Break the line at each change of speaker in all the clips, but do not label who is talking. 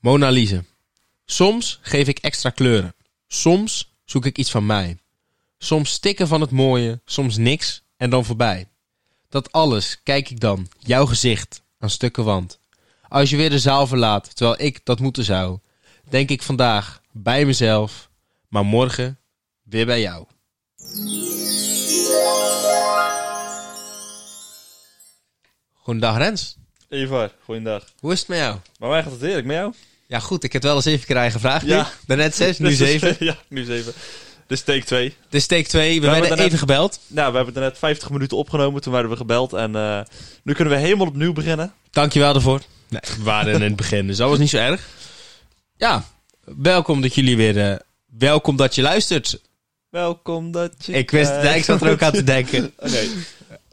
Mona Lise. Soms geef ik extra kleuren. Soms zoek ik iets van mij. Soms stikken van het mooie, soms niks en dan voorbij. Dat alles kijk ik dan, jouw gezicht, aan stukken wand. Als je weer de zaal verlaat, terwijl ik dat moeten zou, denk ik vandaag bij mezelf, maar morgen weer bij jou. Goedendag Rens,
Ivar, goeiedag.
hoe is het met jou?
Maar mij gaat het heerlijk, met jou?
Ja goed, ik heb wel eens even keer eigen gevraagd
Ja.
nu. Daarnet zes, nu
Dit is-
zeven.
Dus- ja, nu zeven. Dit is take 2.
Dus take 2, we
hebben
werden
daarnet-
even gebeld.
Nou, we hebben het net 50 minuten opgenomen, toen werden we gebeld. En eh, nu kunnen we helemaal opnieuw beginnen.
Dankjewel daarvoor. Nee, we waren in het begin, dus dat was niet zo erg. Ja, welkom dat jullie weer... eh, welkom dat je luistert.
Welkom dat je...
Ik wist,
kijkt.
ik zat er ook aan te denken.
Oké.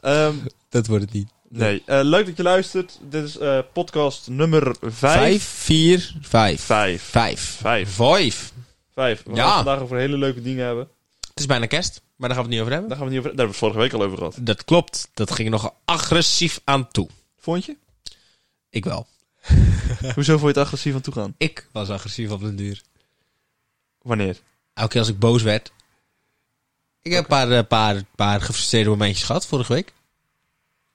Ehm,
Dat wordt het niet.
nee, eh, leuk dat je luistert. Dit is eh, podcast nummer 5.
Vijf, vier, vijf.
5.
Vijf.
Vijf.
Vijf.
5. We gaan
Ja.
het vandaag over hele leuke dingen hebben.
Het is bijna kerst, maar daar gaan we het niet over hebben.
Daar gaan we niet over... Daar hebben we het vorige week al over gehad.
Dat klopt, dat ging nog agressief aan toe.
Vond je?
Ik wel.
Hoezo vond je het agressief aan toe gaan?
Ik was agressief op den duur.
Wanneer?
Elke keer als ik boos werd. Ik heb een paar, eh, paar, paar gefrustreerde momentjes gehad vorige week.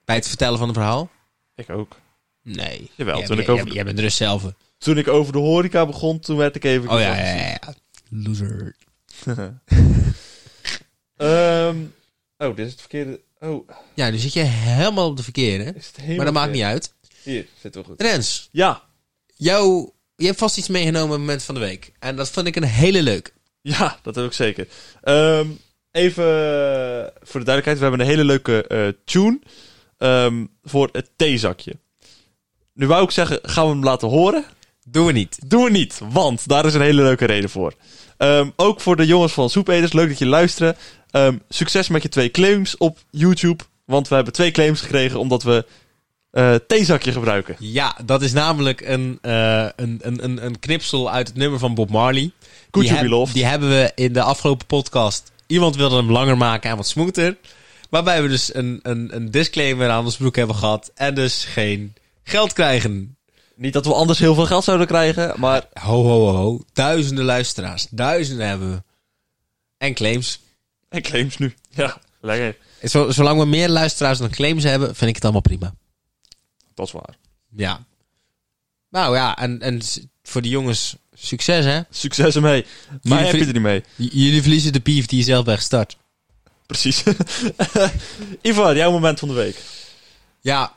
Bij het vertellen van een verhaal.
Ik ook.
Nee.
Jawel,
Jij-
toen ik
jij-
over-
jij- Jij bent rust zelf. Oh
Toen ik over de horeca begon, toen werd ik
ja,
even...
ja, ja, ja. Loser.
Ehm, oh, dit is het verkeerde. Oh,
Ja, nu zit je helemaal op de verkeerde.
is het helemaal.
maar dat maakt
verkeerd?
niet uit.
Hier, zit wel goed.
Rens,
Ja,
jou, je hebt vast iets meegenomen op het moment van de week. En dat vond ik een hele leuk.
ja, dat heb ik zeker. Ehm, even eh, voor de duidelijkheid: we hebben een hele leuke eh, tune ehm, voor het theezakje. Nu wou ik zeggen, gaan we hem laten horen?
Doen we niet.
Doen we niet, want daar is een hele leuke reden voor. Ehm, ook voor de jongens van Soepeters, leuk dat je luisteren. Ehm, succes met je twee claims op YouTube. Want we hebben twee claims gekregen omdat we eh theezakje gebruiken.
Ja, dat is namelijk een, eh, een, een, een, een knipsel uit het nummer van Bob Marley.
Could
die,
you be loved?
die hebben we in de afgelopen podcast. Iemand wilde hem langer maken en wat smoeter. Waarbij we dus een, een, een disclaimer aan ons broek hebben gehad. En dus geen geld krijgen.
Niet dat we anders heel veel geld zouden krijgen, maar
Ho, ho, ho, ho. Duizenden luisteraars. Duizenden hebben we. En claims.
en claims nu. Ja, lekker.
Zo- zolang we meer luisteraars dan claims hebben, vind ik het allemaal prima.
Dat is waar.
Ja. Nou ja, en, en s- voor die jongens, succes hè.
Succes ermee. Maar heb je
vri-
er niet mee.
J- jullie verliezen de pief die je zelf bent gestart.
Precies. Ivar, jouw moment van de week.
Ja,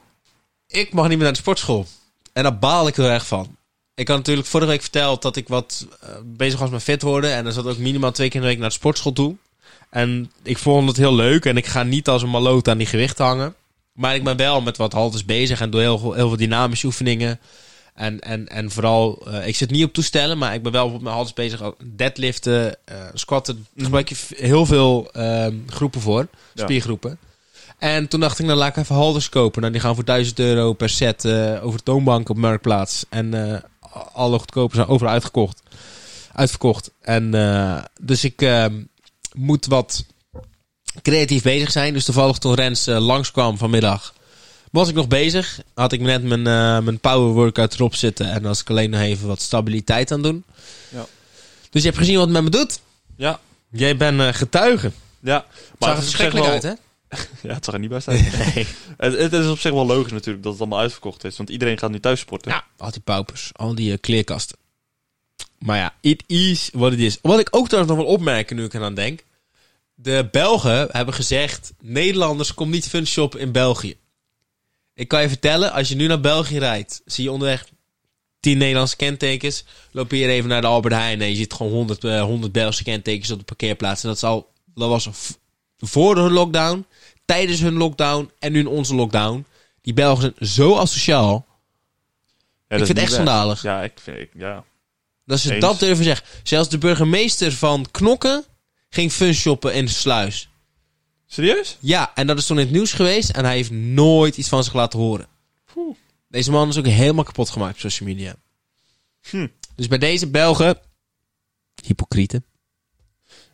ik mag niet meer naar de sportschool. En daar baal ik heel erg van. Ik had natuurlijk vorige week verteld dat ik wat eh, bezig was met fit worden. En dan zat ook minimaal twee keer in de week naar de sportschool toe. En ik vond het heel leuk. En ik ga niet als een maloot aan die gewichten hangen. Maar ik ben wel met wat haltes bezig. En doe heel, veel- heel veel dynamische oefeningen. En, en, en vooral, eh, ik zit niet op toestellen. Maar ik ben wel op mijn haltes bezig. Deadliften, eh, squatten. Daar gebruik je v- heel veel eh, groepen voor.
Ja.
Spiergroepen. En toen dacht ik, nou laat ik even halters kopen. Nou, die gaan voor 1000 euro per set eh, over de toonbank op Marktplaats. En eh, alle goedkope zijn overal uitgekocht. Uitverkocht. En eh, dus ik eh, moet wat creatief bezig zijn. Dus toevallig toen Rens eh, langskwam vanmiddag, was ik nog bezig. Had ik net mijn, eh, mijn power workout erop zitten. En was ik alleen nog even wat stabiliteit aan doen.
Ja.
Dus je hebt gezien wat het met me doet.
Ja.
Jij bent eh, getuige.
Ja,
Maar Zag er
het is op zich
verschrikkelijk
wel-
uit, hè?
Ja, het zag er niet best uit.
Nee.
het, het is op zich wel logisch natuurlijk dat het allemaal uitverkocht is. Want iedereen gaat nu thuis sporten.
Ja, al die paupers, al die eh, kleerkasten. Maar ja, it is wat het is. Wat ik ook trouwens nog wil opmerken nu ik eraan denk. De Belgen hebben gezegd, Nederlanders, kom niet fun shoppen in België. Ik kan je vertellen, als je nu naar België rijdt, zie je onderweg 10 Nederlandse kentekens. Loop hier even naar de Albert Heijn en je ziet gewoon 100, eh, 100 Belgische kentekens op de parkeerplaats. En dat, is al, dat was v- voor hun lockdown, tijdens hun lockdown en nu in onze lockdown. Die Belgen zijn zo asociaal.
Ja,
ik
dat is
vind het
niet
echt
best.
schandalig.
Ja, ik vind... ik- Ja.
Dat ze
Eens.
dat durven zeggen. Zelfs de burgemeester van Knokken ging fun shoppen in Sluis.
Serieus?
Ja, en dat is toen in het nieuws geweest. En hij heeft nooit iets van zich laten horen.
Poeh.
Deze man is ook helemaal kapot gemaakt op social media.
Hm.
Dus bij deze Belgen... Hypocrieten.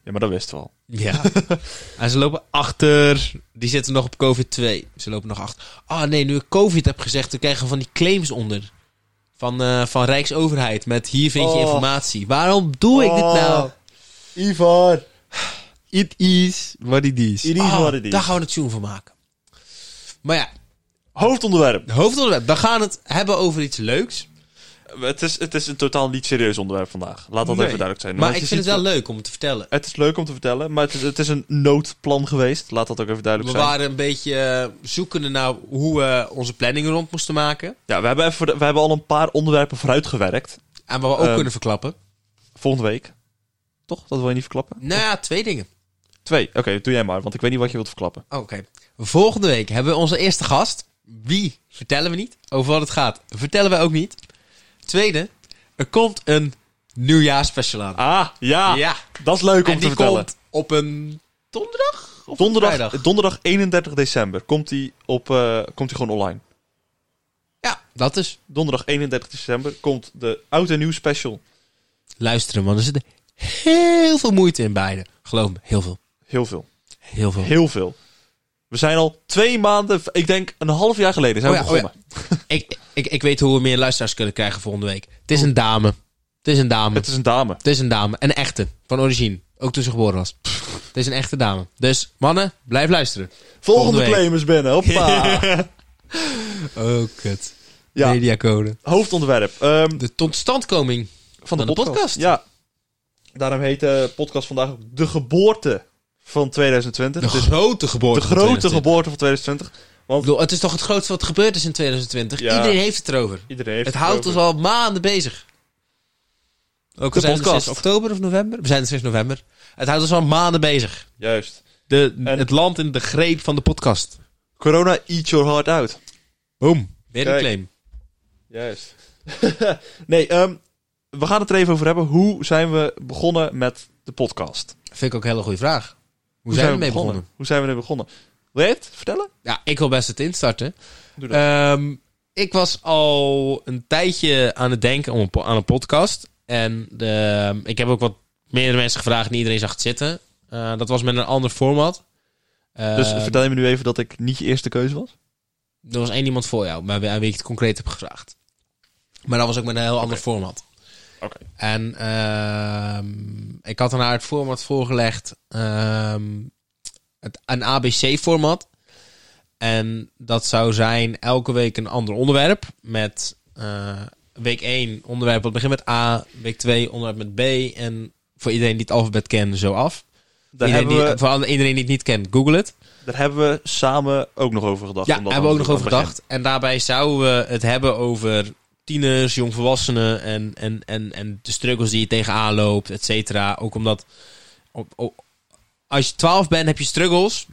Ja, maar dat wist wel.
Ja. en ze lopen achter. Die zitten nog op COVID-2. Ze lopen nog achter. Ah nee, nu ik COVID heb gezegd, dan krijgen we van die claims onder. Van, eh, van Rijksoverheid met hier vind je
Oh.
informatie. Waarom doe ik dit nou?
Ivar.
It is what it is.
It is what it is.
Ah, Daar gaan we een tune van maken. Maar ja,
Hoofdonderwerp.
het hoofdonderwerp. We gaan het hebben over iets leuks.
Het is, het is een totaal niet serieus onderwerp vandaag. Laat dat
Nee.
even duidelijk zijn.
Maar
Want
ik
je
vind het
ziet-
wel leuk om het te vertellen.
Het is leuk om te vertellen, maar het is, het is een noodplan geweest. Laat dat ook even
We
duidelijk zijn.
waren een beetje eh, zoekende naar hoe we onze planning rond moesten maken.
Ja, we hebben, even voor de- we hebben al een paar onderwerpen vooruitgewerkt.
En wat we ook
Ehm.
kunnen verklappen.
Volgende week. Toch? Dat wil je niet verklappen?
Nou ja, twee dingen.
Twee. Oké, doe jij maar, want ik weet niet wat je wilt verklappen.
Oké. Volgende week hebben we onze eerste gast. Wie vertellen we niet? Over wat het gaat vertellen we ook niet. Tweede, er komt een nieuwjaarsspecial aan.
Ah, ja.
ja.
Dat is leuk om
en
te
die
vertellen.
komt op een donderdag? Of Een
donderdag,
vrijdag?
donderdag 31 december komt die, op, eh, komt die gewoon online.
Ja, dat is.
Donderdag 31 december komt de oud en nieuw special.
Luisteren, man. Er zit heel veel moeite in beide. Geloof me, heel veel.
Heel veel.
Heel veel.
Heel veel. We zijn al twee maanden, ik denk een half jaar geleden zijn
Oh
we
ja, oh ja.
begonnen.
Ik, ik, ik weet hoe we meer luisteraars kunnen krijgen volgende week. Het is een dame. Het is een dame.
Het is een dame.
Het is een dame. Een echte. Van origine. Ook toen ze geboren was. Het is een echte dame. Dus mannen, blijf luisteren. Volgende
Volgende
week.
claimers binnen. Hoppa.
Oh, kut.
ja,
Mediacode.
hoofdonderwerp ehm,
De totstandkoming.
van de,
de
podcast.
podcast.
Ja. Daarom heet de podcast vandaag ook de geboorte van 2020.
De
Het is
grote geboorte.
de
van
grote
2020.
geboorte van 2020.
Ik bedoel, het is toch het grootste wat gebeurd is in 2020.
Ja.
Iedereen heeft het erover.
Iedereen heeft
Het houdt ons
erover.
al maanden bezig. Ook
De
al zijn we
podcast.
sinds oktober of november. We zijn er sinds november. Het houdt ons al maanden bezig.
Juist.
De,
En-
Het land in de greep van de podcast.
Corona, eat your heart out.
Boom. Weer een
Kijk.
claim.
Juist. nee, ehm, we gaan het er even over hebben. Hoe zijn we begonnen met de podcast? Hoe,
Vind ik ook een hele goede vraag. Hoe, zijn we ermee begonnen?
Hoe zijn we ermee begonnen? Wil jij het vertellen?
Ja, ik wil best het instarten.
Doe dat.
Ehm, ik was al een tijdje aan het denken om een po- aan een podcast. En ehm, ik heb ook wat meerdere mensen gevraagd en iedereen zag het zitten. Eh, dat was met een ander format. Ehm,
dus vertel je me nu even dat ik niet je eerste keuze was?
Er was één iemand voor jou, maar aan wie ik het concreet heb gevraagd. Maar dat was ook met een heel ander format.
Oké.
En ehm, ik had haar het format voorgelegd. ehm, het, een ABC-format. En dat zou zijn elke week een ander onderwerp. Met eh, week 1 onderwerp wat begint met A. Week 2 onderwerp met B. En voor iedereen die het alfabet kent, zo af.
Daar,
iedereen,
hebben
die, eh,
we,
Voor iedereen die het niet kent, google het.
daar hebben we samen ook nog over gedacht.
Ja,
om dat
hebben we ook
aan
nog over
het begin-
gedacht. En daarbij zouden we het hebben over tieners, jongvolwassenen en, en, en, en de struggles die je tegenaan loopt, et cetera. Ook omdat op- op- als je 12 bent heb je struggles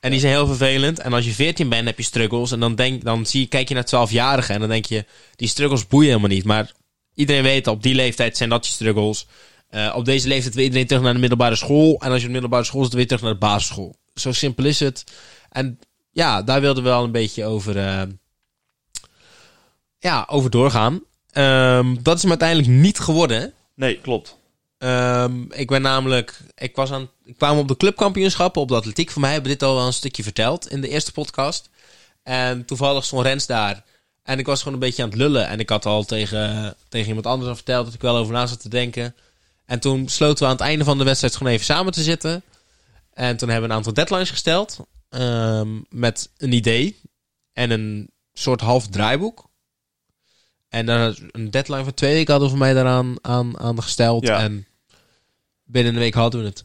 en die zijn heel vervelend. En als je 14 bent heb je struggles en dan, denk, dan zie, je- kijk je naar 12-jarigen en dan denk je, die struggles boeien helemaal niet. Maar iedereen weet, op die leeftijd zijn dat je struggles. Eh, op deze leeftijd wil iedereen terug naar de middelbare school. En als je op de middelbare school zit, wil je terug naar de basisschool. Zo simpel is het. En ja, daar wilden we wel een beetje over, eh, ja, over doorgaan. Ehm, dat is hem uiteindelijk niet geworden.
Nee, klopt.
Ehm, ik ben namelijk, ik, was aan, ik kwam op de clubkampioenschappen op de atletiek. Voor mij hebben we dit al wel een stukje verteld in de eerste podcast. En toevallig stond Rens daar. En ik was gewoon een beetje aan het lullen. En ik had al tegen, tegen iemand anders al verteld dat ik wel over na zat te denken. En toen besloten we aan het einde van de wedstrijd gewoon even samen te zitten. En toen hebben we een aantal deadlines gesteld. ehm, met een idee en een soort half draaiboek. En daar een deadline van twee weken hadden we voor mij daaraan aan, aan gesteld.
Ja.
En binnen een week hadden we het.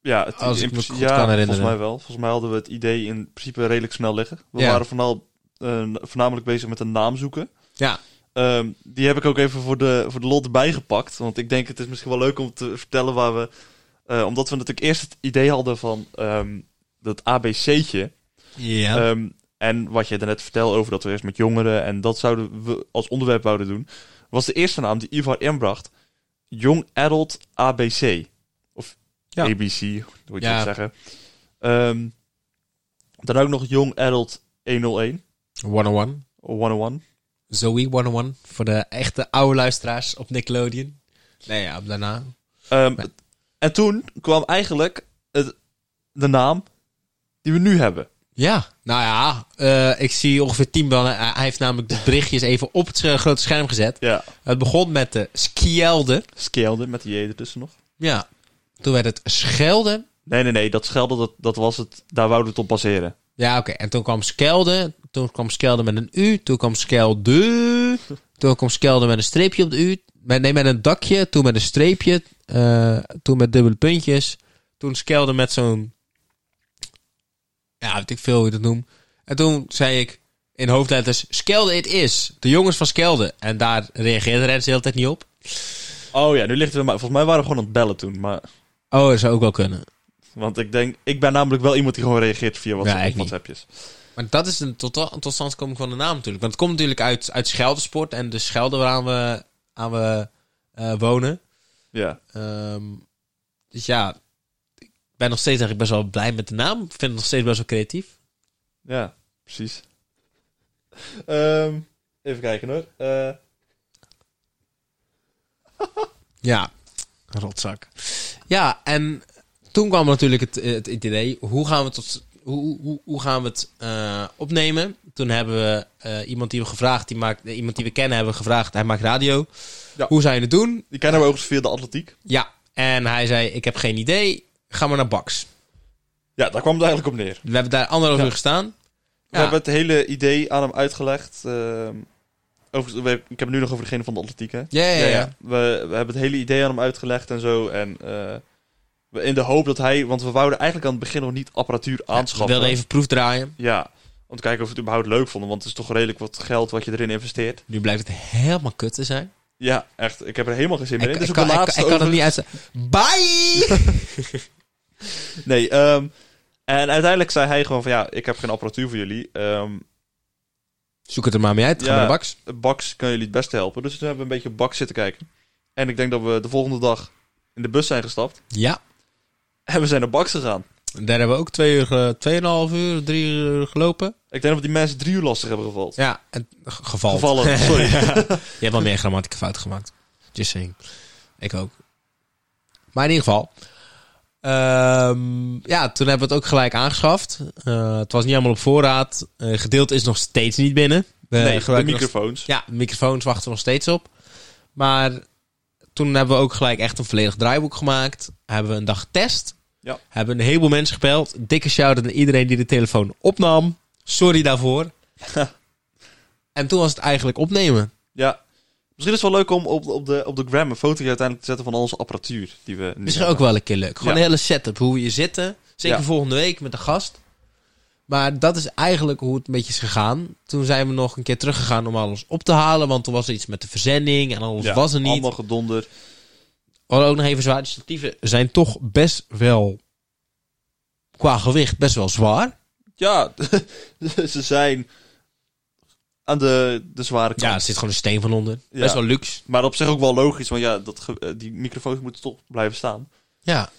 Ja, het,
Als
in
ik me
principe-
goed kan herinneren.
Volgens mij wel. Volgens mij hadden we het idee in principe redelijk snel liggen. We
Ja.
waren vooral, eh, voornamelijk bezig met een naam zoeken.
Ja,
Ehm, die heb ik ook even voor de, voor de lot erbij gepakt. Want ik denk het is misschien wel leuk om te vertellen waar we... eh, omdat we natuurlijk eerst het idee hadden van ehm, dat ABC'tje.
ja.
Ehm, en wat je daarnet vertelde over dat we eerst met jongeren... en dat zouden we als onderwerp wouden doen... was de eerste naam die Ivar inbracht... Young Adult ABC. Of
Ja.
ABC, hoe je het
Ja.
wilt zeggen. Ehm, dan ook nog Young Adult 101.
101.
of 101.
Zoe 101. Voor de echte oude luisteraars op Nickelodeon. Nee, ja, daarna.
Ehm,
Maar-
En toen kwam eigenlijk het, de naam die we nu hebben.
Ja, nou ja, eh, ik zie ongeveer 10 ballen. Hij hij heeft namelijk de berichtjes even op het eh, grote scherm gezet.
Ja.
Het begon met de Skielde.
Skelde met die J ertussen nog.
Ja. Toen werd het Schelde.
Nee, nee, nee. Dat Schelde, dat, dat was het. Daar wouden we het op baseren.
Ja, oké. En toen kwam Skelde. Toen kwam Skelde met een U. Toen kwam Skelde. Toen kwam Skelde met een streepje op de U. Met, nee, met een dakje. Toen met een streepje. eh, toen met dubbele puntjes. Toen Skelde met zo'n... Ja, weet ik veel hoe je dat noemt. En toen zei ik in hoofdletters... Skelde it is. De jongens van Skelde. En daar reageerde Rens de hele tijd niet op.
Oh ja, nu ligt het er maar. Volgens mij waren we gewoon aan het bellen toen. Maar,
Oh, dat zou ook wel kunnen.
want ik denk, ik ben namelijk wel iemand die gewoon reageert via WhatsApp,
Ja, ik
of
niet.
WhatsAppjes.
Maar dat is een tot, totstandkoming van de naam natuurlijk. Want het komt natuurlijk uit, uit Scheldesport en de Schelde waaraan we, aan we eh, wonen.
Ja.
Ehm, dus ja, ik ben nog steeds eigenlijk best wel blij met de naam. Ik vind het nog steeds best wel creatief.
Ja, precies. Ehm, even kijken hoor. Eh,
Ja, rotzak. Ja, en toen kwam natuurlijk het, het idee, hoe gaan we, tot, hoe, hoe, hoe gaan we het eh, opnemen? Toen hebben we eh, iemand die we gevraagd, die maakt, eh, iemand die we kennen, hebben we gevraagd, hij maakt radio.
Ja.
Hoe zou je het doen?
die kennen we overigens via de atletiek.
Ja, en hij zei, ik heb geen idee, ga maar naar Bax.
Ja, daar kwam het eigenlijk op neer.
We hebben daar anderhalf
Ja.
uur gestaan.
We
Ja.
hebben het hele idee aan hem uitgelegd. ehm, overigens, we- ik heb het nu nog over degene van de atletiek, hè?
Ja, ja, ja.
We, we hebben het hele idee aan hem uitgelegd en zo. En eh, we in de hoop dat hij... Want we wouden eigenlijk aan het begin nog niet apparatuur
We
aanschaffen.
wilden even proefdraaien.
Ja, om te kijken of we het überhaupt leuk vonden. Want het is toch redelijk wat geld wat je erin investeert.
Nu blijkt het helemaal kut te zijn.
Ja, echt. Ik heb er helemaal geen zin meer in.
ik,
Dit is
ik
ook
kan,
de
ik-
laatste
ik kan het
over-
niet uit. Bye!
Nee, ehm, en uiteindelijk zei hij gewoon van... Ja, ik heb geen apparatuur voor jullie. Ehm
Zoek het er maar mee uit, ga
Ja.
maar naar Bax.
Bax kan jullie het beste helpen. Dus toen hebben we een beetje op Bax zitten kijken. En ik denk dat we de volgende dag in de bus zijn gestapt.
Ja,
En we zijn naar Bax gegaan.
daar hebben we ook twee uur, ge- tweeënhalf uur, drie uur gelopen.
Ik denk dat we die mensen drie uur lastig hebben gevallen.
Ja, en, ge- gevallen.
Gevallen, sorry.
Je hebt wel meer grammatica fout gemaakt. Just saying. Ik ook. Maar in ieder geval. ehm, ja, toen hebben we het ook gelijk aangeschaft. Eh, het was niet helemaal op voorraad. Eh gedeeld is nog steeds niet binnen. We
nee, de
gebruiken nog-
microfoons.
Ja, de microfoons wachten we nog steeds op. Maar toen hebben we ook gelijk echt een volledig draaiboek gemaakt. Hebben we een dag getest.
Ja.
Hebben een heleboel mensen gebeld. Dikke shout-out aan iedereen die de telefoon opnam. Sorry daarvoor. en toen was het eigenlijk opnemen.
Ja. Misschien is het wel leuk om op, op, de, op de gram een foto uiteindelijk te zetten van al onze apparatuur. Die we nu
Misschien
hebben.
ook wel een keer leuk. Gewoon
Ja.
een hele setup, hoe we hier zitten. Zeker
Ja.
volgende week met een gast. Maar dat is eigenlijk hoe het een beetje is gegaan. Toen zijn we nog een keer teruggegaan om alles op te halen. Want toen was er iets met de verzending en alles
Ja,
was er niet.
Allemaal gedonder.
We hadden ook nog even zwaar. De statieven zijn toch best wel, qua gewicht, best wel zwaar.
Ja, ze zijn aan de, de zware kant.
Ja, er zit gewoon een steen van onder.
Ja.
Best wel luxe.
Maar op zich ook wel logisch, want ja, dat, ge- eh, die microfoons moeten toch blijven staan.
Ja.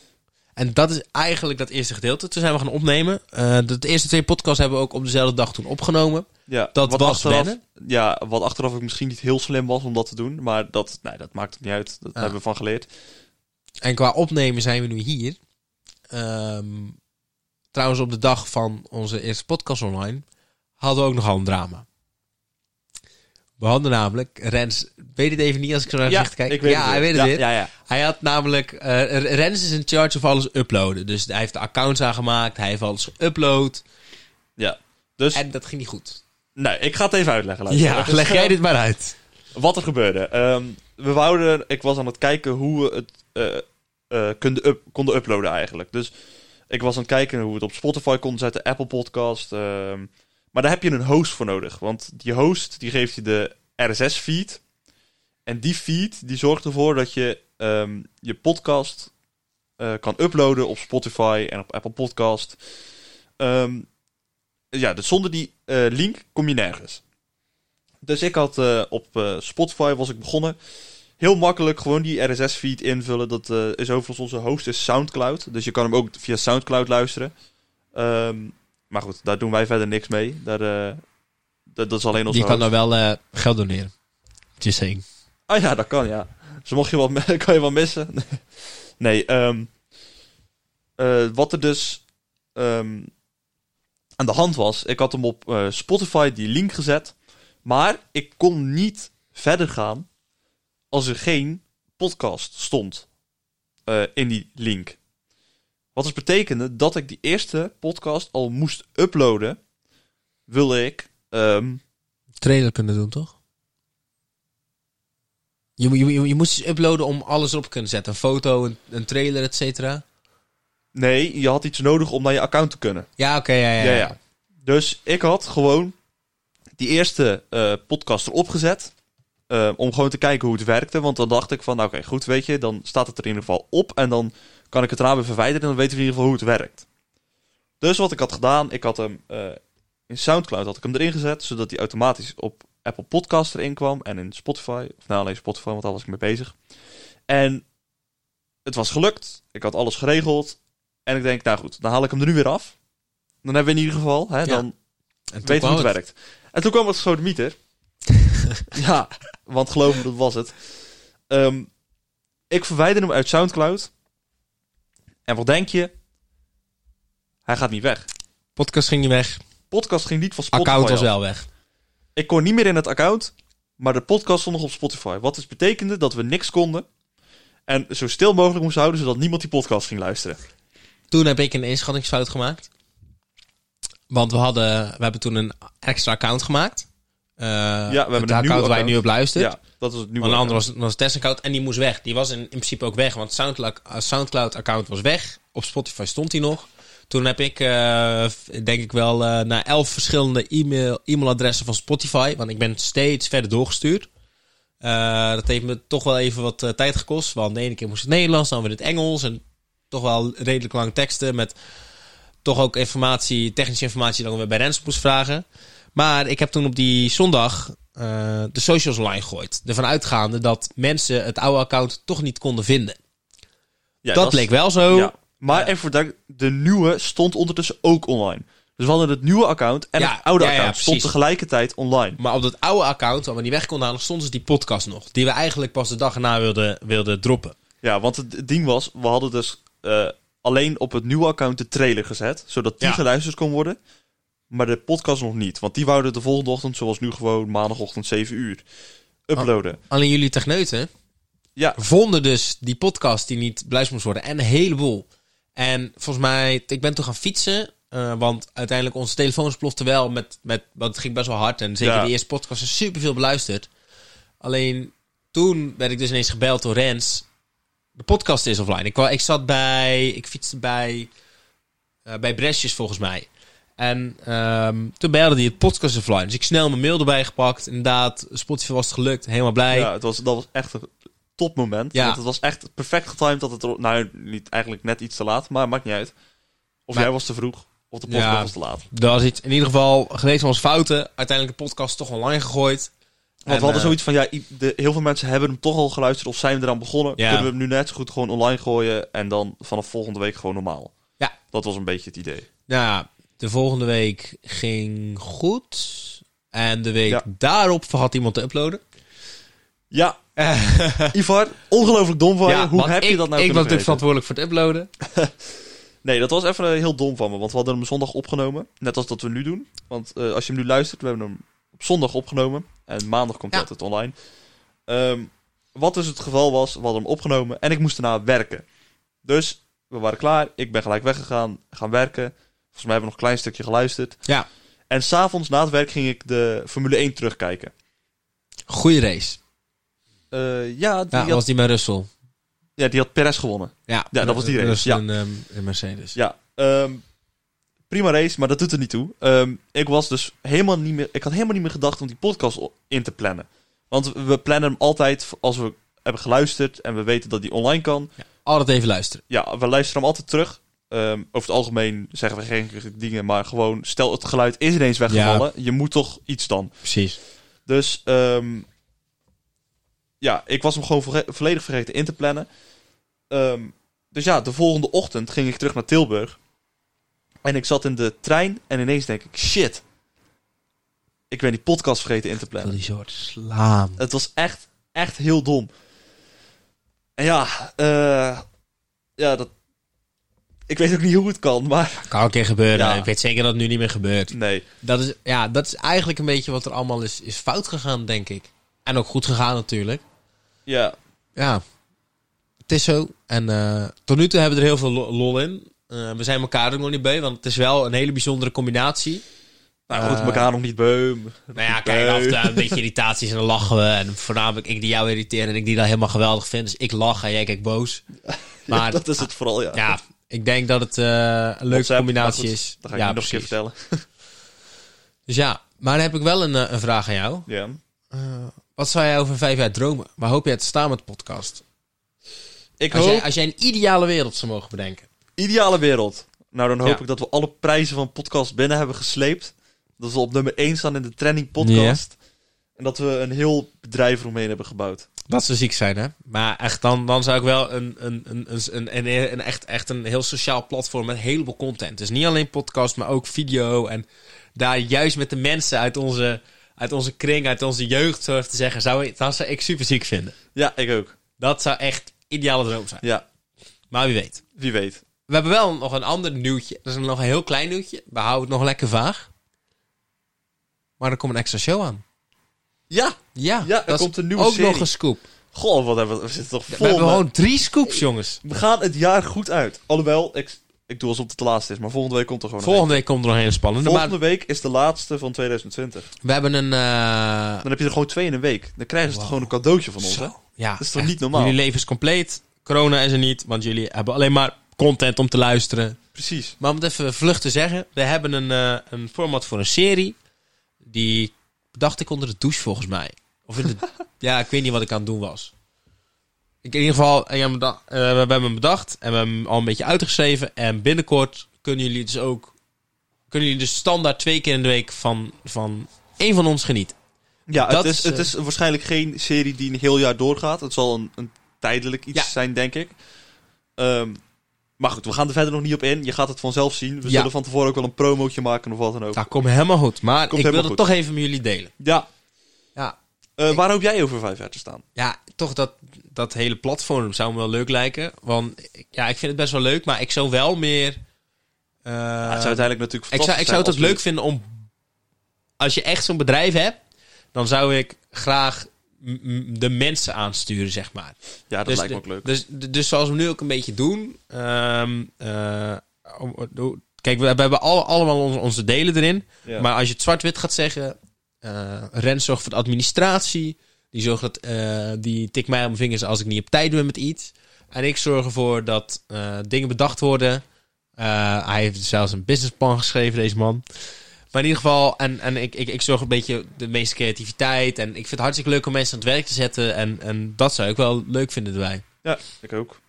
En dat is eigenlijk dat eerste gedeelte. Toen zijn we gaan opnemen. Eh, de, de eerste twee podcasts hebben we ook op dezelfde dag toen opgenomen.
Ja,
Dat was
achteraf,
wennen.
Ja, wat achteraf ook misschien niet heel slim was om dat te doen. Maar dat, nee, dat maakt het niet uit. Dat
Ja.
hebben we van geleerd.
En qua opnemen zijn we nu hier. Ehm, trouwens, op de dag van onze eerste podcast online hadden we ook nogal een drama. We hadden namelijk, Rens weet het even niet als ik zo naar het gezicht kijk.
ik weet
ja,
het
hij
weer.
weet het
ja,
weer.
Ja, ja.
Hij had namelijk... eh, Rens is in charge of alles uploaden. Dus hij heeft de accounts aangemaakt. Hij heeft alles geüpload.
ja. Dus,
En dat ging niet goed.
nee, ik ga het even uitleggen. luisteraar.
Ja,
Dus,
leg
eh,
jij dit maar uit.
Wat er gebeurde. Ehm, we wouden, ik was aan het kijken hoe we het eh, eh, konden, up- konden uploaden eigenlijk. Dus ik was aan het kijken hoe we het op Spotify konden zetten, Apple Podcast. ehm. maar daar heb je een host voor nodig. Want die host, die geeft je de RSS-feed. En die feed, die zorgt ervoor dat je ehm, je podcast eh, kan uploaden op Spotify en op Apple Podcast. Ehm, ja, dus zonder die eh, link kom je nergens. Dus ik had eh, op eh, Spotify was ik begonnen. Heel makkelijk gewoon die RSS-feed invullen. Dat eh, is overigens onze host is SoundCloud. Dus je kan hem ook via SoundCloud luisteren. Ehm, maar goed, daar doen wij verder niks mee. Daar, eh, dat, dat is alleen onze
Je kan
host.
nou wel eh, geld doneren. Just saying.
Ah ja, dat kan, ja. Dus mocht je wat, me- kan je wat missen. nee, ehm, eh, wat er dus ehm, aan de hand was. Ik had hem op eh, Spotify die link gezet. Maar ik kon niet verder gaan als er geen podcast stond eh, in die link. Wat dus betekende dat ik die eerste podcast al moest uploaden. Wilde ik ehm,
Trailer kunnen doen, toch? Je, moet- je, moet- je moest iets uploaden om alles op te kunnen zetten. Een foto, een, een trailer, et cetera.
Nee, je had iets nodig om naar je account te kunnen.
Ja, oké, ja, ja,
Ja, ja. Dus ik had gewoon die eerste eh, podcast erop gezet. eh, om gewoon te kijken hoe het werkte. Want dan dacht ik van, nou, oké, goed, weet je. Dan staat het er in ieder geval op. En dan kan ik het eraan weer verwijderen. En dan weten we in ieder geval hoe het werkt. Dus wat ik had gedaan, ik had hem eh, in Soundcloud had ik hem erin gezet. Zodat hij automatisch op Apple Podcast erin kwam. En in Spotify. Of nou, alleen Spotify, want daar was ik mee bezig. En het was gelukt. Ik had alles geregeld. En ik denk, nou goed, dan haal ik hem er nu weer af. Dan hebben we in ieder geval, hè, dan
En toen
weet
kwam
hoe het, werkt. En toen kwam het grote mieter. ja, want geloof me, dat was het. Ehm, ik verwijder hem uit Soundcloud. En wat denk je? Hij gaat niet weg.
Podcast ging niet weg.
Podcast ging niet van Spotify.
Account was
af.
wel weg.
Ik kon niet meer in het account, maar de podcast stond nog op Spotify. Wat dus betekende dat we niks konden. En zo stil mogelijk moesten houden, zodat niemand die podcast ging luisteren.
Toen heb ik een inschattingsfout gemaakt. Want we, hadden, we hebben toen een extra account gemaakt. Eh,
we hebben
het
een
account
nieuw
waar je
account.
nu op luistert.
Ja, dat was het nieuwe.
Maar een ander was, was Tess-account en die moest weg. Die was in, in principe ook weg, want Soundcloud-account was weg. Op Spotify stond die nog. Toen heb ik, eh, f- denk ik wel, eh naar elf verschillende e-mail, e-mailadressen van Spotify. Want ik ben steeds verder doorgestuurd. Eh, dat heeft me toch wel even wat eh, tijd gekost. Want de ene keer moest het Nederlands, dan weer het Engels. En toch wel redelijk lange teksten met toch ook informatie, technische informatie die ik dan weer bij Rens moest vragen. Maar ik heb toen op die zondag eh, de socials online gegooid. Ervan uitgaande dat mensen het oude account toch niet konden vinden.
Ja,
dat
dat is-
leek wel zo.
Ja. Maar even voor duidelijk- de nieuwe stond ondertussen ook online. Dus we hadden het nieuwe account en
Ja,
het oude
ja, ja,
account stond
precies.
tegelijkertijd online.
Maar op dat oude account, waar we niet weg konden halen, stond dus die podcast nog. Die we eigenlijk pas de dag erna wilden, wilden droppen.
Ja, want het het ding was, we hadden dus eh, alleen op het nieuwe account de trailer gezet, zodat die
Ja.
geluisterd kon worden. Maar de podcast nog niet, want die wouden de volgende ochtend, zoals nu gewoon maandagochtend 7 uur, uploaden.
Alleen jullie techneuten
Ja.
vonden dus die podcast die niet beluisterd moest worden. En een heleboel. En volgens mij, ik ben toen gaan fietsen. eh, want uiteindelijk onze telefoons plofte wel. Met, met, want het ging best wel hard. En zeker
Ja.
de eerste podcast is superveel beluisterd. Alleen toen werd ik dus ineens gebeld door Rens. De podcast is offline. Ik, kwa- ik zat bij, ik fietste bij, eh, bij Bresjes volgens mij. En ehm, toen belde hij het podcast is offline. Dus ik snel mijn mail erbij gepakt. Inderdaad, Spotify was het gelukt. Helemaal blij.
Ja, het was, dat was echt een topmoment.
Ja.
Want het was echt perfect getimed dat het er, nou niet, eigenlijk net iets te laat, maar maakt niet uit. Of
Maar-
jij was te vroeg, of de podcast
Ja.
was te laat.
Dat was iets. In ieder geval, geweest van onze fouten. Uiteindelijk de podcast toch online gegooid.
Want
En,
we hadden
eh,
zoiets van, ja, i- de, heel veel mensen hebben hem toch al geluisterd of zijn eraan begonnen.
Ja.
Kunnen we hem nu net zo goed gewoon online gooien en dan vanaf volgende week gewoon normaal.
Ja.
Dat was een beetje het idee.
Nou, ja, de volgende week ging goed. En de week
Ja.
daarop vergat iemand te uploaden.
Ja,
Eh,
Ivar, ongelooflijk dom van je. Hoe
want
heb
ik,
je dat nou
Ik was natuurlijk
kunnen weten?
verantwoordelijk voor het uploaden.
Nee, dat was even eh, heel dom van me, want we hadden hem zondag opgenomen. Net als dat we nu doen. Want eh, als je hem nu luistert, we hebben hem op zondag opgenomen. En maandag komt hij
Ja.
altijd online. Ehm, wat dus het geval was, we hadden hem opgenomen en ik moest daarna werken. Dus we waren klaar, ik ben gelijk weggegaan, gaan werken. Volgens mij hebben we nog een klein stukje geluisterd.
Ja,
En s'avonds na het werk ging ik de Formule 1 terugkijken.
goede race.
Eh, ja, die
Ja,
had,
was die met Russell.
ja, die had Perez gewonnen.
Ja,
Ja, dat was die race,
Russell
ja.
en, ehm, en Mercedes.
Ja, ehm, prima race, maar dat doet er niet toe. Ehm, ik was dus helemaal niet meer. Ik had helemaal niet meer gedacht om die podcast o- in te plannen. Want we plannen hem altijd v- als we hebben geluisterd en we weten dat die online kan.
Altijd even luisteren.
Ja, we luisteren hem altijd terug. Ehm, over het algemeen zeggen we geen dingen, maar gewoon stel het geluid is ineens weggevallen. Je moet toch iets dan.
Precies.
Dus ehm, ja, ik was hem gewoon verge- volledig vergeten in te plannen. Ehm, dus ja, de volgende ochtend ging ik terug naar Tilburg. En ik zat in de trein en ineens denk ik, shit. Ik ben die podcast vergeten in te
Wil
plannen.
die soort slaam.
Het was echt, echt heel dom. En ja, eh, ja dat Ik weet ook niet hoe het kan, maar...
Kan een keer gebeuren.
Ja.
Ik weet zeker dat het nu niet meer gebeurt.
Nee.
Dat is, ja, dat is eigenlijk een beetje wat er allemaal is, is fout gegaan, denk ik. En ook goed gegaan natuurlijk.
Ja.
Ja, het is zo. En eh, tot nu toe hebben we er heel veel lo- lol in. Eh, we zijn elkaar ook nog niet bij, want het is wel een hele bijzondere combinatie.
Nou goed,
Eh.
elkaar nog niet beum.
Nou ja, kijk, af en toe een beetje irritaties en dan lachen we. En voornamelijk ik die jou irriteer en ik die dat helemaal geweldig vind. Dus ik lach en jij kijkt boos. Maar
dat is het vooral, ja.
ja, ik denk dat het eh, een leuke
WhatsApp,
combinatie
maar goed,
is.
Dat ga ik
ja,
je nog een keer
precies.
vertellen.
Dus ja, maar dan heb ik wel een, eh, een vraag aan jou.
Ja.
Eh, wat zou jij over vijf jaar dromen? Waar hoop jij te staan met de podcast?
Ik
Als
hoop...
jij, als jij een ideale wereld zou mogen bedenken.
Ideale wereld. Nou, dan hoop
Ja.
ik dat we alle prijzen van podcast binnen hebben gesleept. Dat we op nummer 1 staan in de trending podcast. En dat we een heel bedrijf eromheen hebben gebouwd.
Dat zou ziek zijn, hè? Maar echt, dan, dan zou ik wel een, een, een, een, een, een- een echt, echt een heel sociaal platform met een heleboel content. Dus niet alleen podcast, maar ook video. En daar juist met de mensen uit onze, uit onze kring, uit onze jeugd, zo even te zeggen, zou ik, dat zou ik super ziek vinden.
Ja, ik ook.
Dat zou echt ideale droom zijn.
Ja,
Maar wie weet.
wie weet.
We hebben wel nog een ander nieuwtje. Dat is nog een heel klein nieuwtje. We houden het nog lekker vaag. Maar er komt een extra show aan.
Ja,
Ja,
Ja, er
dat is
komt een nieuwe
ook
serie.
nog een scoop.
goh, wat hebben we, we zitten toch
we
vol.
hebben
met-
gewoon drie scoops, jongens.
We gaan het jaar goed uit. Alhoewel, ik, ik doe alsof het de laatste is, maar volgende week komt er gewoon
Volgende week komt er nog een hele
een
spannende.
week.
Maar
Volgende week is de laatste van 2020.
we hebben een... eh,
Dan heb je er gewoon twee in een week. Dan krijgen ze
Wow.
toch gewoon een cadeautje van ons, hè?
Zo. Ja,
Dat is toch
echt.
niet normaal?
Jullie leven is compleet. Corona is er niet, want jullie hebben alleen maar content om te luisteren.
Precies.
Maar om het even vlug te zeggen. We hebben een, eh, een format voor een serie. Die dacht ik onder de douche volgens mij. Of in de... ja, ik weet niet wat ik aan het doen was. Ik, in ieder geval, eh, ja, we da- eh, we hebben hem bedacht. En we hebben hem al een beetje uitgeschreven. En binnenkort kunnen jullie dus ook... Kunnen jullie dus standaard twee keer in de week van, van één van ons genieten.
Ja,
Dat
het is,
is,
het
eh,
is waarschijnlijk geen serie die een heel jaar doorgaat. Het zal een, een tijdelijk iets
Ja.
zijn, denk ik. Ehm, maar goed, we gaan er verder nog niet op in. Je gaat het vanzelf zien. We
Ja.
zullen van tevoren ook wel een promotje maken of wat dan ook.
Dat Nou, komt helemaal goed. Maar
Komt
ik wil
helemaal
het
goed.
toch even met jullie delen.
Ja.
Ja,
Eh, waar hoop jij over vijf jaar te staan?
ja toch dat, dat hele platform zou me wel leuk lijken. Want ik- ja, ik vind het best wel leuk. Maar ik zou wel meer... eh,
Ja, het zou uiteindelijk natuurlijk
ik, zou, ik
fantastisch
zou het ook
zijn
leuk
als
vinden om... Als je echt zo'n bedrijf hebt, dan zou ik graag m- m- de mensen aansturen, zeg maar.
we- Ja, dat
dus
lijkt me
de-
ook leuk.
Dus, dus zoals we nu ook een beetje doen. ehm, eh, om- om- kijk, we, we hebben alle- allemaal onze, onze delen erin.
Ja.
Maar als je het zwart-wit gaat zeggen... eh Rens zorgt voor de administratie. Die, zorgt dat, eh, die tikt mij op mijn vingers als ik niet op tijd ben met iets. En ik zorg ervoor dat eh, dingen bedacht worden. Eh, hij heeft zelfs een businessplan geschreven, deze man. Maar in ieder geval, en, en ik, ik, ik zorg een beetje de meeste creativiteit. En ik vind het hartstikke leuk om mensen aan het werk te zetten. En, en dat zou ik wel leuk vinden erbij.
Ja, ik ook.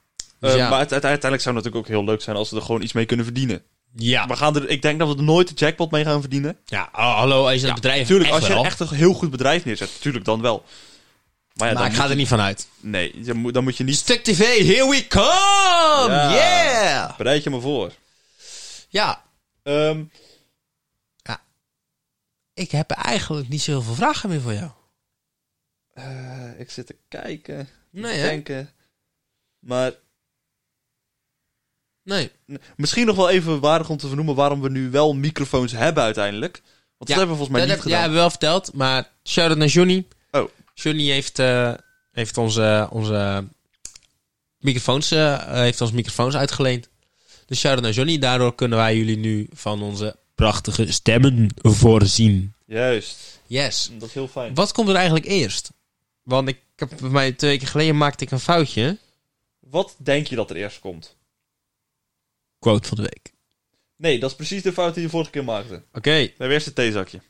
Dus
Eh,
ja.
Maar uite- uiteindelijk zou het natuurlijk ook heel leuk zijn als we er gewoon iets mee kunnen verdienen.
Ja,
We gaan er, ik denk dat we er nooit de jackpot mee gaan verdienen.
ja oh, hallo, als je een bedrijf
Natuurlijk,
echt
als je
wel.
echt een heel goed bedrijf neerzet, natuurlijk dan wel. Maar ja,
maar
dan,
ik ga er niet van uit.
moet- nee, je moet- dan moet je niet...
Stuk TV, here we come!
Ja.
Yeah!
Bereid je maar voor.
Ja,
Ehm,
ik heb eigenlijk niet zoveel vragen meer voor jou.
eh, ik zit te kijken,
Nee, hè?
denken. Maar
Nee.
n- misschien nog wel even waardig om te vernoemen waarom we nu wel microfoons hebben uiteindelijk. Want
Ja,
dat hebben we volgens mij
Dat
niet
heb, ja,
gedaan.
hebben we wel verteld, maar shout-out naar Johnny.
Oh.
Johnny heeft, eh, heeft onze, onze microfoons, eh, heeft ons microfoons uitgeleend. Dus shout-out naar Johnny. Daardoor kunnen wij jullie nu van onze prachtige stemmen voorzien.
Juist,
Yes.
dat is heel fijn.
Wat komt er eigenlijk eerst? Want ik heb bij mij twee weken geleden maakte ik een foutje.
Wat denk je dat er eerst komt?
Quote van de week.
Nee, dat is precies de fout die je vorige keer maakte.
Oké.
We hebben eerst het theezakje.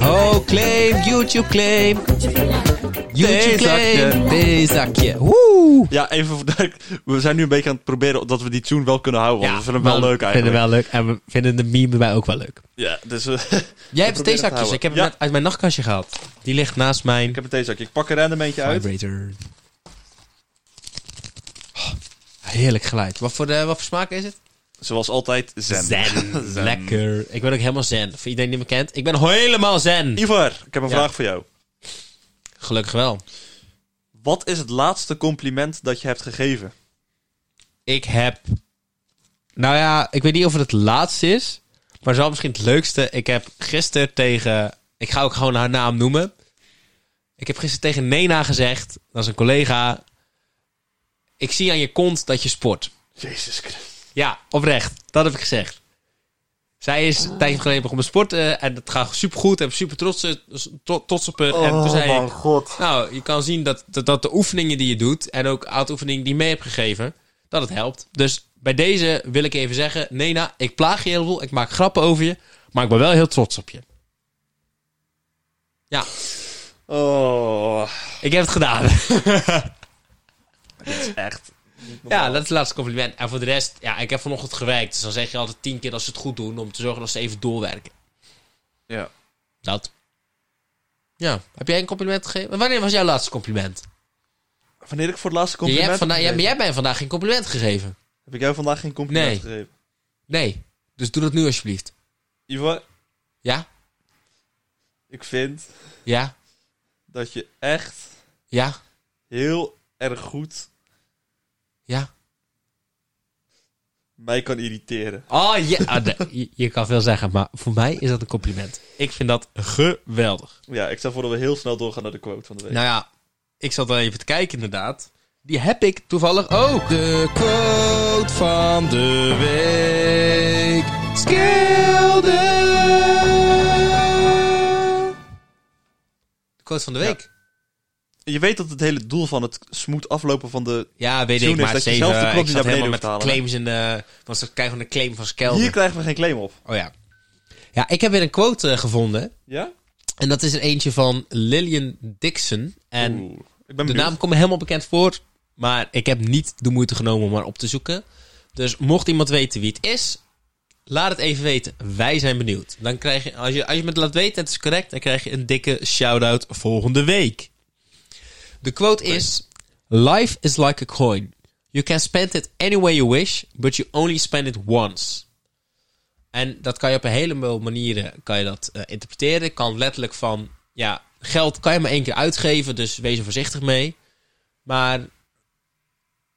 Oh, claim, YouTube claim. YouTube claim.
Theezakje.
Theezakje. Woe.
Ja, even voor duidelijk- We zijn nu een beetje aan het proberen dat we die tune wel kunnen houden. Want we vinden hem wel
maar
leuk
we
eigenlijk.
vinden hem wel leuk en we vinden de meme erbij ook wel leuk.
Ja, dus eh,
Jij
het
hebt
te
theezakjes.
houden.
Ik heb hem
Ja.
net uit mijn nachtkastje gehaald. Die ligt naast mijn
ik heb een theezakje. Ik pak er random eentje uit.
vibrator. Oh, heerlijk geluid. Wat voor, de, wat voor smaak is het?
Zoals altijd, zen. Zen.
Lekker. Ik ben ook helemaal zen. Voor iedereen die me kent. Ik ben helemaal zen.
Ivar, ik heb een
Ja.
vraag voor jou.
Gelukkig wel.
Wat is het laatste compliment dat je hebt gegeven?
Ik heb... Nou ja, ik weet niet of het het laatste is. Maar zo misschien het leukste. Ik heb gisteren tegen... Ik ga ook gewoon haar naam noemen. Ik heb gisteren tegen Nena gezegd. Dat is een collega. Ik zie aan je kont dat je sport.
Jezus Christus.
Ja, oprecht. Dat heb ik gezegd. Zij is een tijdje geleden begonnen met sporten. En dat gaat supergoed. En super trots, tro- trots op haar. en toen zei ik,
Oh, god.
nou, je kan zien dat, dat, dat de oefeningen die je doet... en ook aantal oefeningen die je mee hebt gegeven... dat het helpt. Dus bij deze wil ik even zeggen... Nena, ik plaag je heel veel. Ik maak grappen over je. Maar ik ben wel heel trots op je. Ja,
Oh,
ik heb het gedaan.
echt.
Ja, dat is het laatste compliment. En voor de rest, ja, ik heb vanochtend gewerkt. Dus dan zeg je altijd tien keer als ze het goed doen... om te zorgen dat ze even doorwerken.
Ja.
Dat. Ja, heb jij een compliment gegeven? Wanneer was jouw laatste compliment?
Wanneer ik voor het laatste
Ja, jij
compliment
hebt vanda-
heb
ja, maar
gegeven.
jij hebt mij vandaag geen compliment gegeven.
Heb ik jou vandaag geen compliment
Nee.
gegeven?
Nee. Dus doe dat nu alsjeblieft.
Ivo,
Ja?
ik vind
Ja?
dat je echt
Ja?
heel erg goed
Ja?
mij kan irriteren.
Oh, ja. Ah, nee. je, je kan veel zeggen, maar voor mij is dat een compliment. Ik vind dat geweldig.
Ja, ik stel voor dat we heel snel doorgaan naar de quote van de week.
Nou ja, ik zat wel even te kijken inderdaad. Die heb ik toevallig ook. De quote van de week. Skilden. De quote van de week.
Je weet dat het hele doel van het smooth aflopen van de...
Ja, weet
Zoen
ik,
is
maar
dat je
zeven, eh,
zelf de knop
ik
niet
zat
naar
helemaal
beneden
met
hoeft te halen,
claims in de... Want ze krijgen een claim van Skelder.
Hier krijgen we geen claim op.
Oh ja. Ja, ik heb weer een quote eh, gevonden.
Ja?
En dat is er eentje van Lillian Dixon. En
Oeh, ik ben
de
benieuwd.
naam komt me helemaal bekend voor. Maar ik heb niet de moeite genomen om haar op te zoeken. Dus mocht iemand weten wie het is... Laat het even weten. Wij zijn benieuwd. Dan krijg je, als je, als je me het laat weten en het is correct... dan krijg je een dikke shout-out volgende week. De quote is... Life is like a coin. You can spend it any way you wish... but you only spend it once. En dat kan je op een heleboel manieren kan je dat, eh, interpreteren. Kan letterlijk van... Ja, geld kan je maar één keer uitgeven... dus wees er voorzichtig mee. Maar...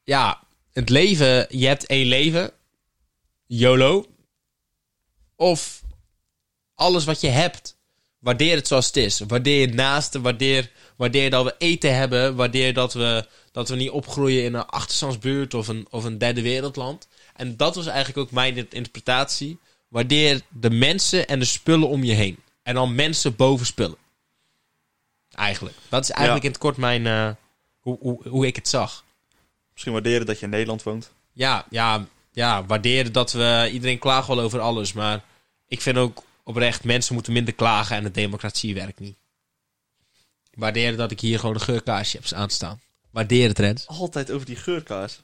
Ja, het leven... Je hebt één leven... YOLO. Of alles wat je hebt. Waardeer het zoals het is. Waardeer je naasten. Waardeer, waardeer dat we eten hebben. Waardeer dat we, dat we niet opgroeien in een achterstandsbuurt of een, of een derde wereldland. En dat was eigenlijk ook mijn in- interpretatie. Waardeer de mensen en de spullen om je heen. En dan mensen boven spullen. Eigenlijk. Dat is eigenlijk
Ja.
in het kort mijn, eh, hoe, hoe, hoe ik het zag.
Misschien waarderen dat je in Nederland woont.
Ja, ja, ja, waarderen dat we... Iedereen klaagt wel over alles, maar ik vind ook oprecht... mensen moeten minder klagen en de democratie werkt niet. Waarderen dat ik hier gewoon een geurkaarsje heb aanstaan. Waarderen het, Rens.
Altijd over die geurkaars.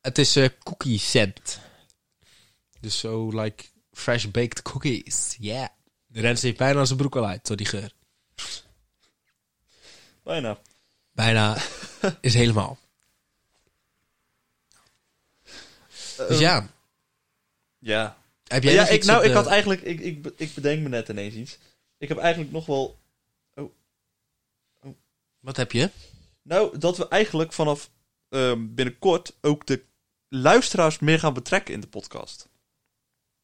Het is eh, cookie scent. Dus zo, like, fresh baked cookies. Yeah. Rens heeft bijna zijn broek al uit door die geur.
Bijna.
Bijna is helemaal. Dus ja,
Ja.
heb jij
Ja,
nog
ik,
iets
nou,
op
ik
de-
had eigenlijk... Ik, ik, be- ik bedenk me net ineens iets. Ik heb eigenlijk nog wel...
Wat heb je?
Nou, dat we eigenlijk vanaf ehm, binnenkort ook de luisteraars meer gaan betrekken in de podcast.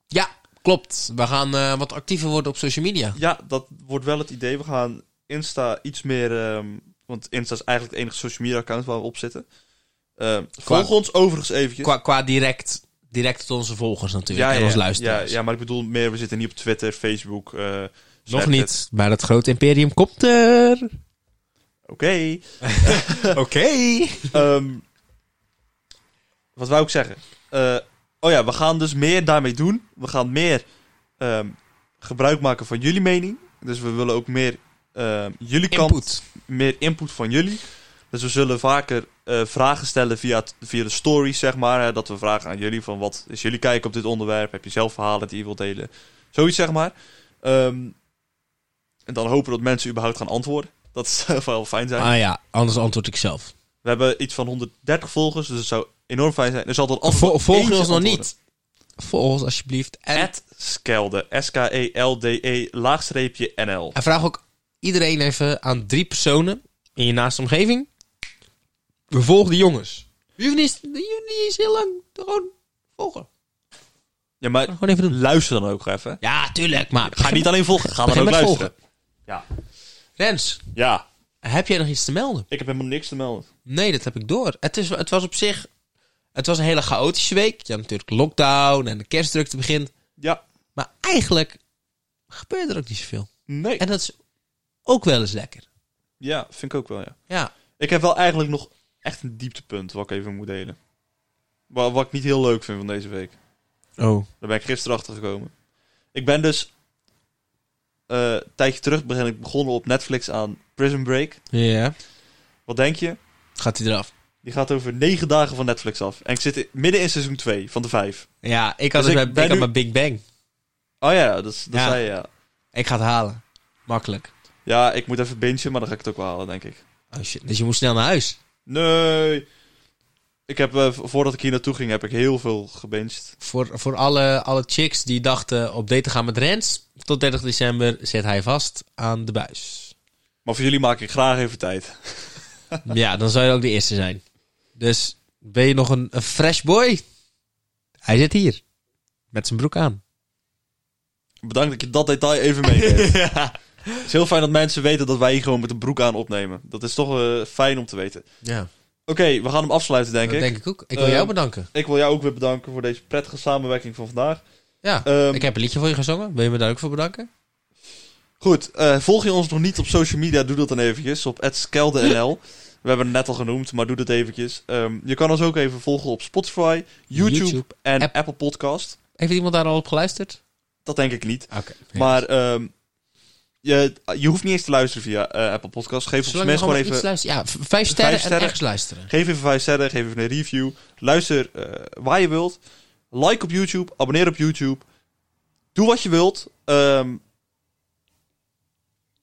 Ja, klopt. We gaan eh, wat actiever worden op social media.
Ja, dat wordt wel het idee. We gaan Insta iets meer... ehm, want Insta is eigenlijk het enige social media account waar we op zitten. Ehm, volg ons overigens eventjes.
Qua, qua direct, direct tot onze volgers natuurlijk en ons luisteraars.
Dus- Ja, ja, maar ik bedoel meer, we zitten niet op Twitter, Facebook. eh,
Nog
Snapchat.
niet, maar dat grote imperium komt er.
Oké.
Oké.
Ehm, wat wou ik zeggen? Eh, oh ja, we gaan dus meer daarmee doen. We gaan meer ehm, gebruik maken van jullie mening. Dus we willen ook meer ehm, jullie kant,
Input.
meer input van jullie. Dus we zullen vaker eh, vragen stellen via, het- via de stories, zeg maar. Hè, dat we vragen aan jullie van wat is jullie kijk op dit onderwerp? Heb je zelf verhalen die je wilt delen? Zoiets, zeg maar. Ehm, en dan hopen dat mensen überhaupt gaan antwoorden. Dat zou wel fijn zijn.
Ah ja, anders antwoord ik zelf.
We hebben iets van 130 volgers, dus het zou enorm fijn zijn. Er zal dan altijd
Vol, volg
eentje
ons nog
antwoorden.
niet. Volg ons alsjeblieft. En,
At Skelde, E S-K-E-L-D-E, laagstreepje NL.
en vraag ook iedereen even aan drie personen in je naaste omgeving. We volgen die jongens. Je hoeft niet, je hoeft niet eens heel lang gewoon volgen.
Ja, maar
Gewoon even doen.
luister dan ook even.
Ja, tuurlijk, maar
Ga niet alleen volgen, ga dan
Begin
ook
met
luisteren. Ja.
Rens,
ja,
heb jij nog iets te melden?
ik heb helemaal niks te melden.
Nee, dat heb ik door. Het, is, het was op zich... Het was een hele chaotische week. Je had natuurlijk lockdown en de kerstdrukte begint.
Ja,
Maar eigenlijk gebeurde er ook niet zoveel.
nee.
En dat is ook wel eens lekker.
Ja, vind ik ook wel, ja.
Ja.
Ik heb wel eigenlijk nog echt een dieptepunt wat ik even moet delen. Wat, wat ik niet heel leuk vind van deze week.
Oh.
Daar ben ik gisteren achter gekomen. Ik ben dus eh, een tijdje terug ben ik begonnen op Netflix aan Prison Break.
Ja.
Wat denk je?
Gaat hij eraf?
Die gaat over negen dagen van Netflix af. En ik zit in- midden in seizoen 2 van de vijf.
Ja, ik had,
Dus
dus
ik
mijn,
ben
ik had
nu-
mijn Big Bang.
Oh ja, dat, is- dat
Ja.
zei je, ja.
Ik ga het halen. Makkelijk.
Ja, ik moet even bingen, maar dan ga ik het ook wel halen, denk ik.
Oh shit. Dus je moet snel naar huis.
Nee. Ik heb, eh, v- voordat ik hier naartoe ging, heb ik heel veel gebinged.
Voor, voor alle, alle chicks die dachten op date te gaan met Rens. Tot 30 december zit hij vast aan de buis.
Maar voor jullie maak ik graag even tijd.
ja, dan zou je ook de eerste zijn. Dus ben je nog een, een fresh boy? Hij zit hier. Met zijn broek aan.
Bedankt dat je dat detail even meegeeft. Het is heel fijn dat mensen weten dat wij hier gewoon met een broek aan opnemen. Dat is toch eh, fijn om te weten.
Ja,
Oké, we gaan hem afsluiten, denk
dat
ik.
denk ik ook. Ik wil
Eh,
jou bedanken.
Ik wil jou ook weer bedanken voor deze prettige samenwerking van vandaag.
Ja,
ehm,
ik heb een liedje voor je gezongen. Wil je me daar ook voor bedanken?
Goed, eh, volg je ons nog niet op social media? Doe dat dan eventjes op @skeldenl. We hebben het net al genoemd, maar doe dat eventjes. Ehm, je kan ons ook even volgen op Spotify, YouTube,
YouTube,
en
app.
Apple Podcast.
Heeft iemand daar al op geluisterd?
Dat denk ik niet.
Oké.
Maar ehm, je, je hoeft niet eens te luisteren via eh, Apple Podcast. Geef ons
Zolang je
mensen gewoon
gewoon
even
iets luistert. Ja, v- vijf sterren
sterren.
en ergens luisteren.
Geef even 5 sterren, geef even een review. Luister eh, waar je wilt. Like op YouTube, abonneer op YouTube. Doe wat je wilt. Ehm,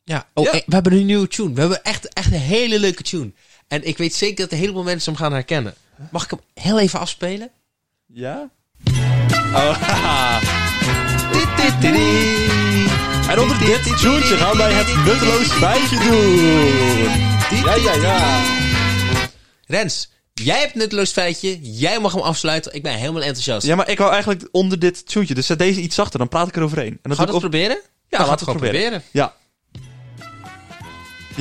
Ja, oh,
Ja.
eh, we hebben een nieuwe tune. We hebben echt, echt een hele leuke tune. En ik weet zeker dat een heleboel mensen hem gaan herkennen. Mag ik hem heel even afspelen?
ja? Oh, En
En
onder dit tune gaan wij het nutteloos feitje doen. Ja, ja, ja.
Rens, jij hebt een nutteloos feitje. Jij mag hem afsluiten. Ik ben helemaal enthousiast.
Ja, maar ik wou eigenlijk onder dit tuntje. Dus zet deze iets zachter, dan praat ik eroverheen. En dan
Gaan we
doe
dat
ik op-
proberen?
Ja,
Dan
laten
gaan
we
we
het
het gewoon
proberen.
proberen.
Ja.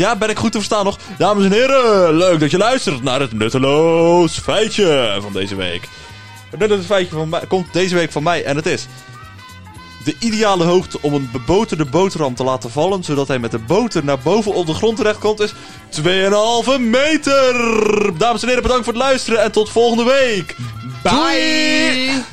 Ja, ben ik goed te verstaan nog? Dames en heren, leuk dat je luistert naar het nutteloos feitje van deze week. Het nutteloos feitje van mij, komt deze week van mij en het is... De ideale hoogte om een beboterde boterham te laten vallen... zodat hij met de boter naar boven op de grond terechtkomt is 2,5 meter. Dames en heren, bedankt voor het luisteren en tot volgende week. Bye!
Doei!